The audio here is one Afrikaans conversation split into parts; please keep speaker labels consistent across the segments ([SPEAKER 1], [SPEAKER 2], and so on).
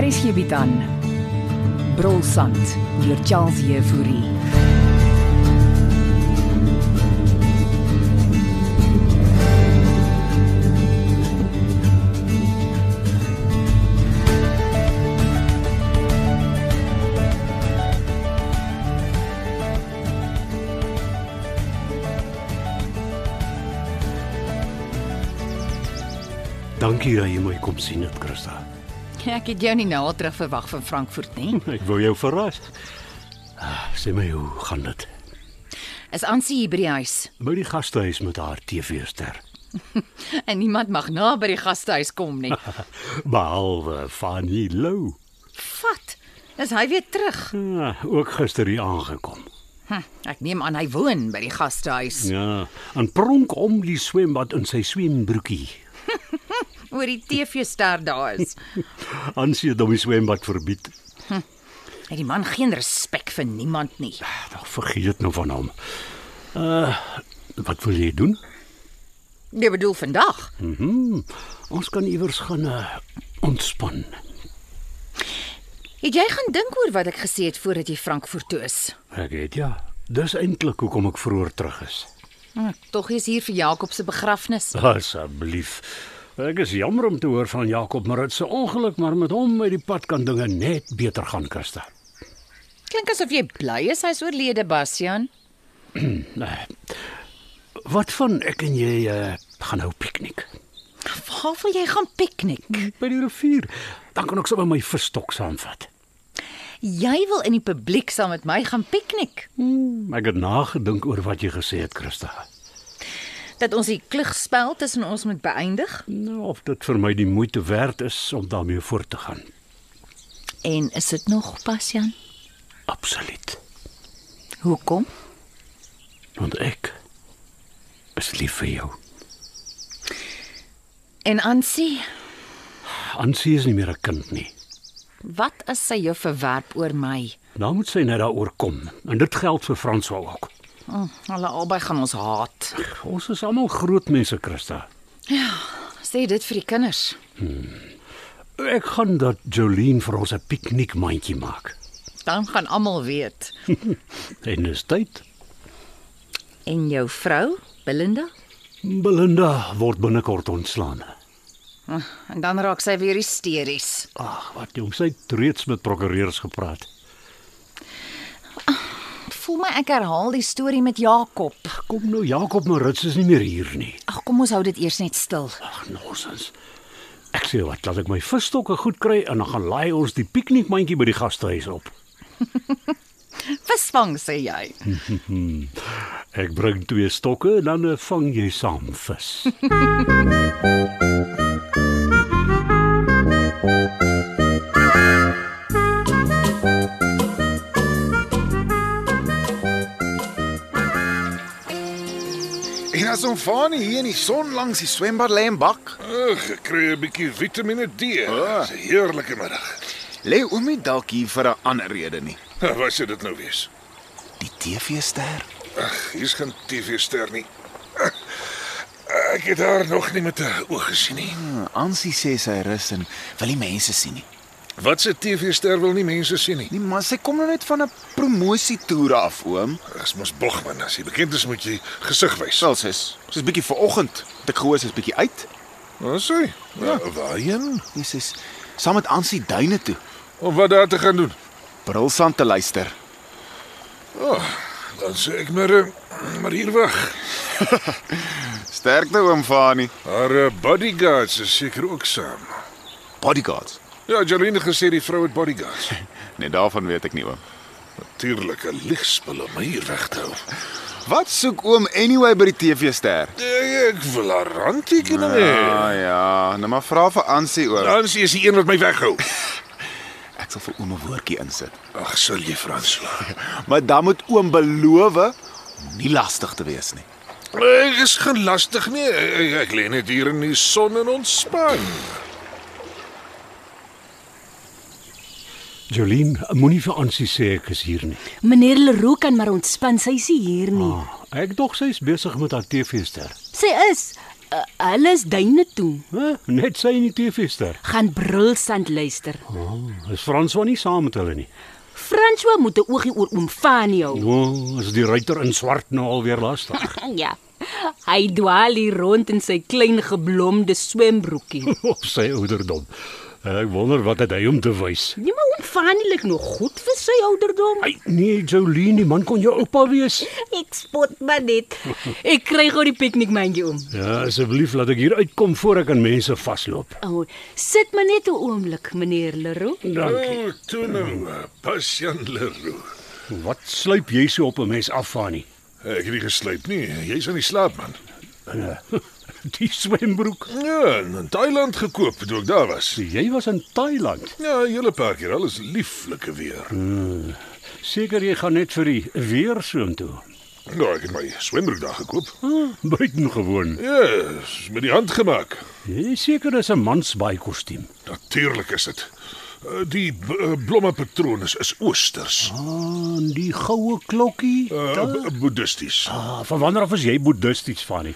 [SPEAKER 1] Hier is hierby dan. Brolsand deur Charles Jefouri.
[SPEAKER 2] Dankie dat jy my kom sien het, Christa.
[SPEAKER 1] Ek het jou nie nou al terug verwag van Frankfurt nie.
[SPEAKER 2] Ek wou jou verras. Ah, Sê my, hoe gaan dit?
[SPEAKER 1] Is Ansie hier by die huis
[SPEAKER 2] By die gastehuis met haar TV-ster,
[SPEAKER 1] en niemand mag na by die gastehuis kom nie.
[SPEAKER 2] behalwe Fanny Lou.
[SPEAKER 1] Vat. Is hy weer terug?
[SPEAKER 2] Ah, ook gister hier aangekom.
[SPEAKER 1] Hm, ek neem aan hy woon by die gastehuis.
[SPEAKER 2] Ja, en pronk om die swembad in sy swembroekie.
[SPEAKER 1] Oor die TV-ster daar is.
[SPEAKER 2] Ansie het hom die swembad verbied.
[SPEAKER 1] Het die man geen respek vir niemand nie.
[SPEAKER 2] Ag, Ah, vergeet nou van hom. Uh, wat wil jy doen? Mhm.
[SPEAKER 1] Jy Nee, bedoel vandag?
[SPEAKER 2] Ons kan iewers gaan uh, ontspan.
[SPEAKER 1] Het jy gaan dink oor wat ek gesê het voordat jy Frankfurt toe is?
[SPEAKER 2] Ek weet ja. Dis eintlik hoekom ek vroeër terug is.
[SPEAKER 1] Hm, Tog is hier vir Jakob se begrafnis.
[SPEAKER 2] Asseblief. Ek is jammer om te hoor van Jakob, maar dit se ongeluk, maar met hom uit die pad kan dinge net beter gaan, Christa.
[SPEAKER 1] Klink asof jy bly is hy's oorlede, Bastian.
[SPEAKER 2] Nee. Wat van ek en jy uh, gaan nou piknik
[SPEAKER 1] Waar wil jy gaan piknik?
[SPEAKER 2] by die rivier? Dan kan ek sommer my visstok saamvat.
[SPEAKER 1] Jy wil in die publiek saam met my gaan piknik.
[SPEAKER 2] Hmm, Ek het nagedink oor wat jy gesê het, Christa.
[SPEAKER 1] Dat ons die klugspel tussen ons moet beëindig
[SPEAKER 2] Nou, of dit vir my die moeite werd is om daarmee voort te gaan.
[SPEAKER 1] en is dit nog Bastian?
[SPEAKER 2] Absoluut.
[SPEAKER 1] Hoekom?
[SPEAKER 2] Want ek is lief vir jou.
[SPEAKER 1] En Ansie,
[SPEAKER 2] Ansie is nie meer 'n kind nie.
[SPEAKER 1] wat as sy jou verwerp oor my?
[SPEAKER 2] Nou moet sy net daaroor kom en dit geld vir Franswal ook.
[SPEAKER 1] Oh, hulle albei gaan ons haat.
[SPEAKER 2] Ons is almal groot mense, Christa.
[SPEAKER 1] Sê dit vir die kinders.
[SPEAKER 2] Ek gaan dat Jolene vir ons 'n piknikmandjie maak.
[SPEAKER 1] Dan gaan almal weet.
[SPEAKER 2] En dis tyd.
[SPEAKER 1] En jou vrou, Belinda?
[SPEAKER 2] Belinda word binnekort ontslaan.
[SPEAKER 1] En dan raak sy weer hysteries.
[SPEAKER 2] Ag, wat jong, sy het reeds met prokureurs gepraat.
[SPEAKER 1] Voel my ek herhaal die storie met Jakob.
[SPEAKER 2] Kom nou, Jakob Marits is nie meer hier nie.
[SPEAKER 1] Ag kom ons hou dit eers net stil.
[SPEAKER 2] Ag, nonsens. Ek sê wat, laat ek my visstokke goed kry en dan gaan laai ons die piknikmandjie by die gastehuis op.
[SPEAKER 1] Visvang sê jy.
[SPEAKER 2] Ek bring twee stokke en dan eh, vang jy saam vis.
[SPEAKER 3] En as hom van hier in die son langs die swembad lê en bak,
[SPEAKER 4] Ag, ek kry 'n bietjie Vitamiene D.
[SPEAKER 3] Ah.
[SPEAKER 4] Dis 'n heerlike middag.
[SPEAKER 3] lê oom nie dalk hier vir 'n ander rede nie.
[SPEAKER 4] Wat sou dit nou wees?
[SPEAKER 3] Die TV-ster?
[SPEAKER 4] Ag, hier's geen TV-ster nie. Ek het haar nog nie met 'n oog gesien nie.
[SPEAKER 3] Hmm, Ansie sê sy rus en wil nie mense sien nie.
[SPEAKER 4] Wat se TV-ster wil nie mense sien nie.
[SPEAKER 3] Nee, maar sy kom nou net van 'n promosietoer af, oom.
[SPEAKER 4] Dis mos Bogman, as jy bekend is moet jy gesig wys.
[SPEAKER 3] Wel, sis, sy's bietjie vanoggend. Het ek gehoor sy's bietjie uit.
[SPEAKER 4] Wat sê? Oh. Ja, waarheen?
[SPEAKER 3] Nee, sy's saam met Ansie duine toe,
[SPEAKER 4] Om wat daar te gaan doen?
[SPEAKER 3] Brilsand te luister.
[SPEAKER 4] Dan sê ek maar eh, maar hier weg.
[SPEAKER 3] Sterkte nou, oom Fani.
[SPEAKER 4] Haar eh, bodyguards is seker ook saam.
[SPEAKER 3] Bodyguards.
[SPEAKER 4] Ja, Jolene het gesê die vrou het bodyguards.
[SPEAKER 3] Nee, daarvan weet ek nie, oom.
[SPEAKER 4] Natuurlik 'n ligspel om my hier weg te hou.
[SPEAKER 3] Wat soek oom anyway by die TV-ster?
[SPEAKER 4] Nee, Ek wil haar handtekening hê.
[SPEAKER 3] Ah ja, nou maar vra vir Ansie oom.
[SPEAKER 4] Nancy is die een wat my weghou.
[SPEAKER 3] Ek sal vir oom 'n woordjie insit.
[SPEAKER 4] Ag, sal jy Fransla.
[SPEAKER 3] Maar dan moet oom beloof om nie lastig te wees nie.
[SPEAKER 4] Ek is nee. geen lastig nie. Ek, ek lê net hier in die son en ontspan.
[SPEAKER 2] Jolien, moenie vir Ansie sê ek is hier nie.
[SPEAKER 5] Meneer Leroux kan maar ontspan, sy is nie hier nie.
[SPEAKER 2] Ah, ek dog sy's besig met haar TV-ster.
[SPEAKER 5] Sy is uh, hulle is duine toe.
[SPEAKER 2] Hæ? Net sy in die TV-ster.
[SPEAKER 5] Gaan brulsand luister.
[SPEAKER 2] Is Franswa nie saam met hulle nie?
[SPEAKER 5] François moet 'n oogie oor oom Fanie hou.
[SPEAKER 2] O, oh, is die ruiter in swart nou alweer lastig.
[SPEAKER 5] Ja. Hy dwaal hier rond in sy klein geblomde swembroekie.
[SPEAKER 2] Op sy ouderdom. Ek wonder wat het hy om te wys.
[SPEAKER 5] Nee, maar oom Fanie lyk nog goed vir sy ouderdom.
[SPEAKER 2] Ai, nee, Jolien, die man kon jou oupa wees.
[SPEAKER 5] Ek spot maar net. Ek kry gou die piknikmandjie om.
[SPEAKER 2] Ja, asseblief laat ek hier uitkom voor ek aan mense vasloop.
[SPEAKER 5] O, oh, sit maar net 'n oomblik, meneer Leroux.
[SPEAKER 2] Dankie.
[SPEAKER 4] O, toe nou, eh, Bastian Leroux.
[SPEAKER 2] Wat sluip jy so op 'n mens af van nie?
[SPEAKER 4] Ek het nie gesluip nie. Jy's aan die slaap man.
[SPEAKER 2] Die swembroek.
[SPEAKER 4] Ja, in Thailand gekoop toe ek daar was.
[SPEAKER 2] Jy was in Thailand.
[SPEAKER 4] Ja, 'n hele paar keer. Alles lieflike weer.
[SPEAKER 2] Seker jy gaan net vir die weer soontoe.
[SPEAKER 4] Ja, ek het my swembroek daar gekoop.
[SPEAKER 2] Ah, buitengewoon.
[SPEAKER 4] Ja, is met die hand gemaak.
[SPEAKER 2] Jy is seker dis 'n mansbaai kostuum.
[SPEAKER 4] Natuurlik is dit. Eh, Die b- eh, blomme patroon is, is oosters.
[SPEAKER 2] Ah, die goue klokkie.
[SPEAKER 4] Uh,
[SPEAKER 2] Da-
[SPEAKER 4] boeddhisties.
[SPEAKER 2] Ah, van wanneer af is jy boeddhisties van nie?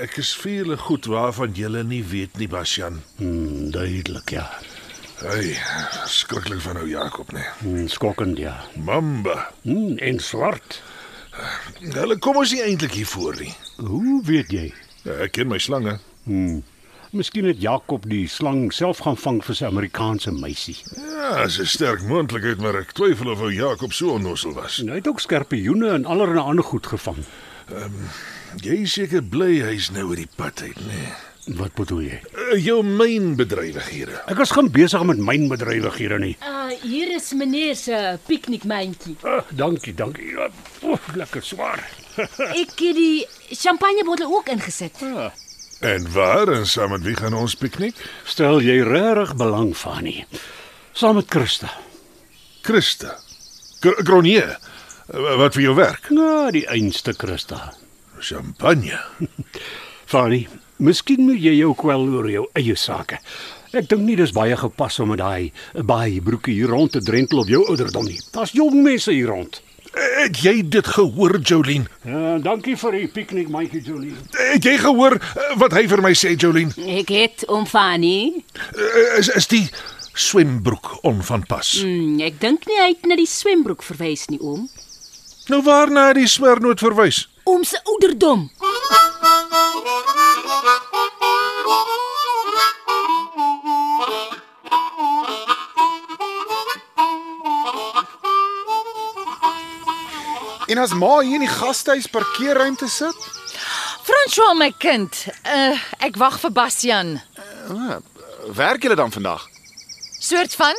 [SPEAKER 4] Ek is vele goed waarvan jy nie weet nie, Bastian.
[SPEAKER 2] Hmm, duidelik ja.
[SPEAKER 4] Hey, skrikkelik van ou Jakob, nee.
[SPEAKER 2] Hmm, skokkend ja.
[SPEAKER 4] Mamba.
[SPEAKER 2] Hmm, en swart.
[SPEAKER 4] Hulle kom ons nie eintlik hiervoor nie.
[SPEAKER 2] Hoe weet jy?
[SPEAKER 4] Ja, ek ken my slange.
[SPEAKER 2] Miskien het Jakob die slang self gaan vang vir sy Amerikaanse meisie.
[SPEAKER 4] Ja, is 'n sterk moontlikheid, maar ek twyfel of ou Jakob so onnosel was.
[SPEAKER 2] En hy het ook skerpioene en allerlei ander goed gevang.
[SPEAKER 4] Jy is seker bly hy's nou uit die pad uit, nee.
[SPEAKER 2] Wat bedoel jy?
[SPEAKER 4] Uh, jou mynbedrywighede.
[SPEAKER 2] Ek was gaan besig met mynbedrywighede nie.
[SPEAKER 5] Uh, hier is meneer se piknikmandjie.
[SPEAKER 2] Uh, dankie, dankie. Ja, Oef, lekker swaar.
[SPEAKER 5] Ek het die champagnebottel ook ingesit.
[SPEAKER 4] En waar en saam met wie gaan ons piknik?
[SPEAKER 2] Stel jy regtig belang van nie. Saam met Christa.
[SPEAKER 4] Christa. Gr- Gronier. Uh, Wat vir jou werk?
[SPEAKER 2] Na die einste Christa.
[SPEAKER 4] Champagne.
[SPEAKER 2] Fanny, miskien moet jy jou kwel oor jou eie sake. Ek dink nie dis baie gepas om met daai baie broekie hier rond te drentel op jou ouderdom nie. Daar's jong mense hier rond.
[SPEAKER 4] Het jy dit gehoor, Jolien?
[SPEAKER 2] Ja, dankie vir die piknik, Maatjie Jolie.
[SPEAKER 4] Het jy gehoor eh, wat hy vir my sê, Jolien?
[SPEAKER 5] Ek het oom Fanie.
[SPEAKER 4] Eh, Is is die swembroek onvanpas?
[SPEAKER 5] Mm, ek dink nie hy het na die swembroek verwys nie, oom.
[SPEAKER 4] Nou waarna het die swernoot verwys?
[SPEAKER 5] Oom se ouderdom.
[SPEAKER 3] En as ma hier in die gastehuis parkeerruimte sit,
[SPEAKER 6] François my kind,
[SPEAKER 1] Eh,
[SPEAKER 6] uh, ek wag vir Bastian.
[SPEAKER 3] werk julle dan vandag?
[SPEAKER 6] Soort van?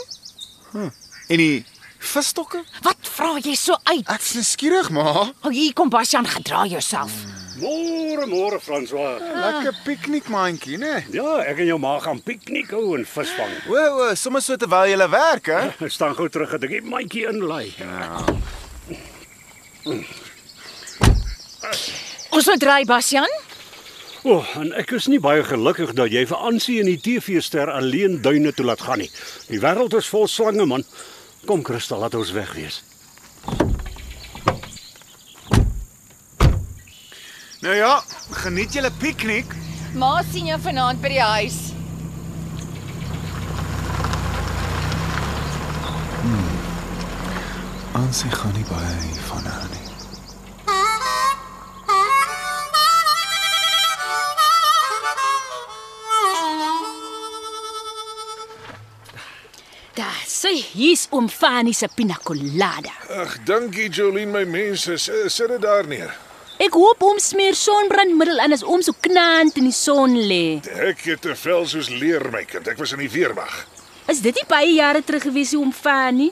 [SPEAKER 3] En die visstokke?
[SPEAKER 6] Wat vra jy so uit?
[SPEAKER 3] Ek's nuuskierig, ma.
[SPEAKER 6] O, hier kom Bastian, gedra jouself.
[SPEAKER 2] Môre, môre François.
[SPEAKER 3] Lekker piknikmandjie, né?
[SPEAKER 2] Ja, ek en jou ma gaan piknik hou en vis vang.
[SPEAKER 3] O, o, sommer so terwyl julle werk, hè?
[SPEAKER 2] Ek staan gou terug dat ek die mandjie inlaai.
[SPEAKER 6] Ons moet ry Bastian.
[SPEAKER 2] O, oh, en ek is nie baie gelukkig dat jy vir Ansie en die TV-ster alleen duine toe laat gaan nie. Die wêreld is vol slange, man. Kom Christel, laat ons weg wees.
[SPEAKER 3] Nou ja, geniet julle piknik.
[SPEAKER 6] Ma sien jou vanaand by die huis.
[SPEAKER 3] Ansie gaan nie baie hiervan hou nie.
[SPEAKER 5] Daar, sê hier's oom Fanie se pina colada.
[SPEAKER 4] Ag, dankie Jolien, my mense. S- Sit dit daar neer.
[SPEAKER 5] Ek hoop oom smeer sonbrandmiddel aan as oom so knaand in die son lê.
[SPEAKER 4] Ek het te vel soos leer my kind. Ek was in die weermag.
[SPEAKER 5] Is dit nie baie jare terug gewees nie, oom Fanie?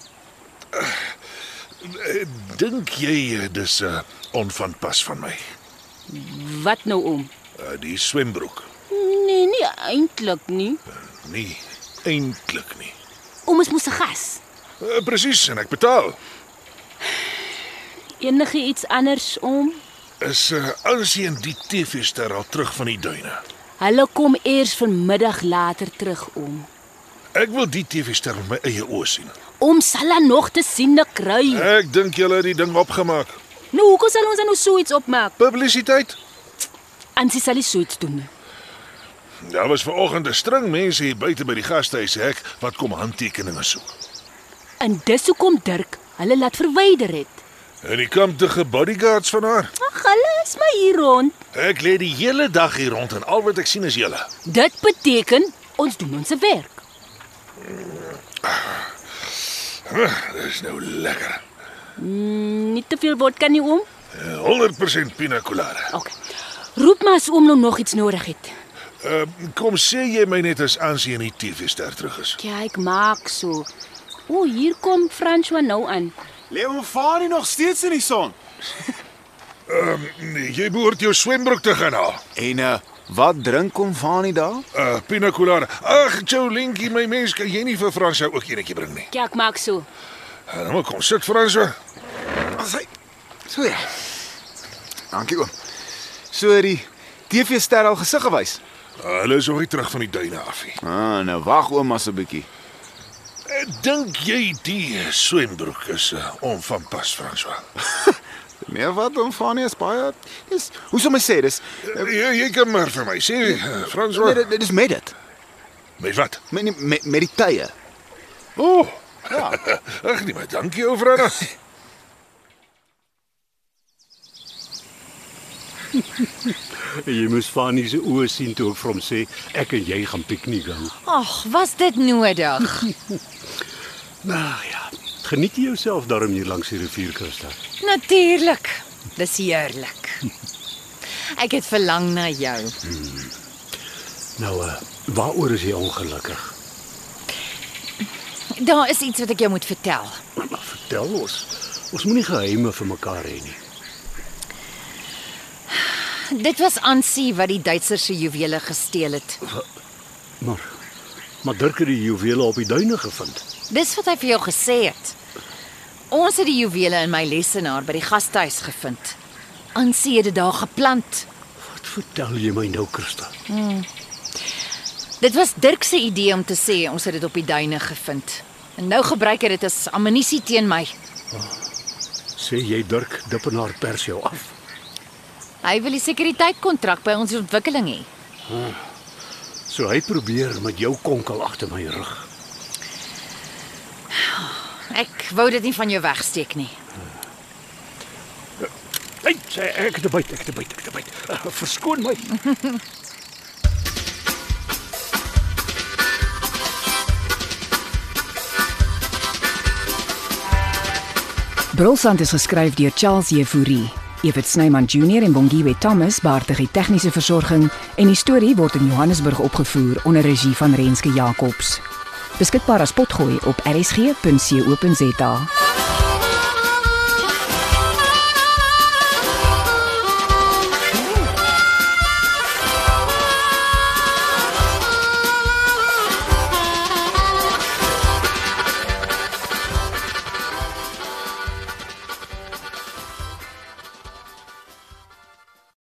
[SPEAKER 4] Eh, Dink jy eh, dis 'n uh, onvanpas van my?
[SPEAKER 5] Wat nou oom?
[SPEAKER 4] Uh, die swembroek.
[SPEAKER 5] Nee, nie eintlik nie.
[SPEAKER 4] Nee, eintlik nie.
[SPEAKER 5] Oom is mos 'n gas.
[SPEAKER 4] Uh, Presies, en ek betaal.
[SPEAKER 5] Enige iets anders oom?
[SPEAKER 4] Is uh, Ansie en die TV-ster al terug van die duine?
[SPEAKER 5] Hulle kom eers vanmiddag later terug oom.
[SPEAKER 4] Ek wil die TV-ster met my eie oë sien.
[SPEAKER 5] Om Salla nog te sien te kry.
[SPEAKER 4] Ek dink julle het die ding opgemaak.
[SPEAKER 5] Nou hoekom sal ons dan nou so iets opmaak?
[SPEAKER 4] Publisiteit?
[SPEAKER 5] Ansie sal nie so iets doen. nie.
[SPEAKER 4] Daar was vanoggend 'n string mense hier buite by die gastehuis hek wat kom handtekeninge soek.
[SPEAKER 5] En dis hoekom Dirk hulle laat verwyder het.
[SPEAKER 4] En die kamptige bodyguards van haar.
[SPEAKER 5] Ag, hulle is maar hier rond.
[SPEAKER 4] Ek lê die hele dag hier rond en al wat ek sien is julle.
[SPEAKER 5] Dit beteken ons doen ons werk.
[SPEAKER 4] Huh, Dis nou lekker.
[SPEAKER 5] Mm, Nie te veel word kan nie oom.
[SPEAKER 4] Eh, 100% pina colada.
[SPEAKER 5] OK. Roep maar as oom nou nog iets nodig het.
[SPEAKER 4] Uh, kom sê jy my net as Ansie in die TV-ster terug is.
[SPEAKER 5] Kyk, maak so. O, hier kom François nou aan.
[SPEAKER 3] Lê hom vaar nie nog steeds in die son.
[SPEAKER 4] Nee, jy behoort jou swembroek te gaan haal.
[SPEAKER 3] En uh, wat drink kom vaar nie daar?
[SPEAKER 4] Uh, pina colada. Ag, Jolinkie, my mens, kan jy nie vir Fransou ook enetjie bring nie?
[SPEAKER 5] Kyk, maak so.
[SPEAKER 4] Uh, nou maar kom sit Fransou.
[SPEAKER 3] As hy So ja. Dankie oom. So die TV-ster al gesig gewys.
[SPEAKER 4] Uh, hulle is nog nie terug van die duine af nie.
[SPEAKER 3] Ah, nou wag oom as 'n bietjie.
[SPEAKER 4] Uh, dink jy die swembroek is uh, onvanpas, Fransou?
[SPEAKER 3] Meer wat oom vaar nie is baie. Dis hoe sou my sê dis
[SPEAKER 4] Uh, jy, jy kan maar vir my sê, uh, Fransou.
[SPEAKER 3] nee, dit- dit is met dit.
[SPEAKER 4] Met wat?
[SPEAKER 3] Met met, met die tye.
[SPEAKER 4] O. Oh. Ja. Ag nee, maar dankie ou Frana.
[SPEAKER 2] Jy moes Fanny se oë sien toe ek vir hom sê ek en jy gaan piknik hou.
[SPEAKER 1] Ag, was dit nodig?
[SPEAKER 2] Nou ja, geniet jy jouself daarom hier langs die rivier, Christa.
[SPEAKER 1] Natuurlik. Dis heerlik. Ek het verlang na jou.
[SPEAKER 2] Nou, uh, waaroor is jy ongelukkig?
[SPEAKER 1] Daar is iets wat ek jou moet vertel.
[SPEAKER 2] Maar, maar vertel ons. Ons moenie geheime vir mekaar hê nie.
[SPEAKER 1] Dit was Ansie wat die Duitser se juwele gesteel het.
[SPEAKER 2] Maar maar Dirk het die juwele op die duine gevind.
[SPEAKER 1] Dis wat hy vir jou gesê het. Ons het die juwele in my lesenaar by die gastehuis gevind. Ansie het dit daar geplant.
[SPEAKER 2] Wat vertel jy my nou, Christa?
[SPEAKER 1] Dit was Dirk se idee om te sê ons het dit op die duine gevind. En nou gebruik hy dit as ammunisie teen my.
[SPEAKER 2] Sê jy Dirk Dippenaar pers jou af?
[SPEAKER 1] Hy wil die sekuriteitkontrak by ons ontwikkeling hê.
[SPEAKER 2] So hy probeer met jou konkel agter my rug.
[SPEAKER 1] Ek wou dit nie van jou wegsteek nie.
[SPEAKER 2] Hey, sê ek te byt, ek te byt, ek te byt. Eh, Verskoon my.
[SPEAKER 7] Brolsand is geskryf deur Charles Jefouri. Evit Snyman Junior en Bongwe Thomas baartig die tegniese versorging en die storie word in Johannesburg opgevoer onder regie van Renske Jacobs. Beskikbaar as potgooi op rsg.co.za.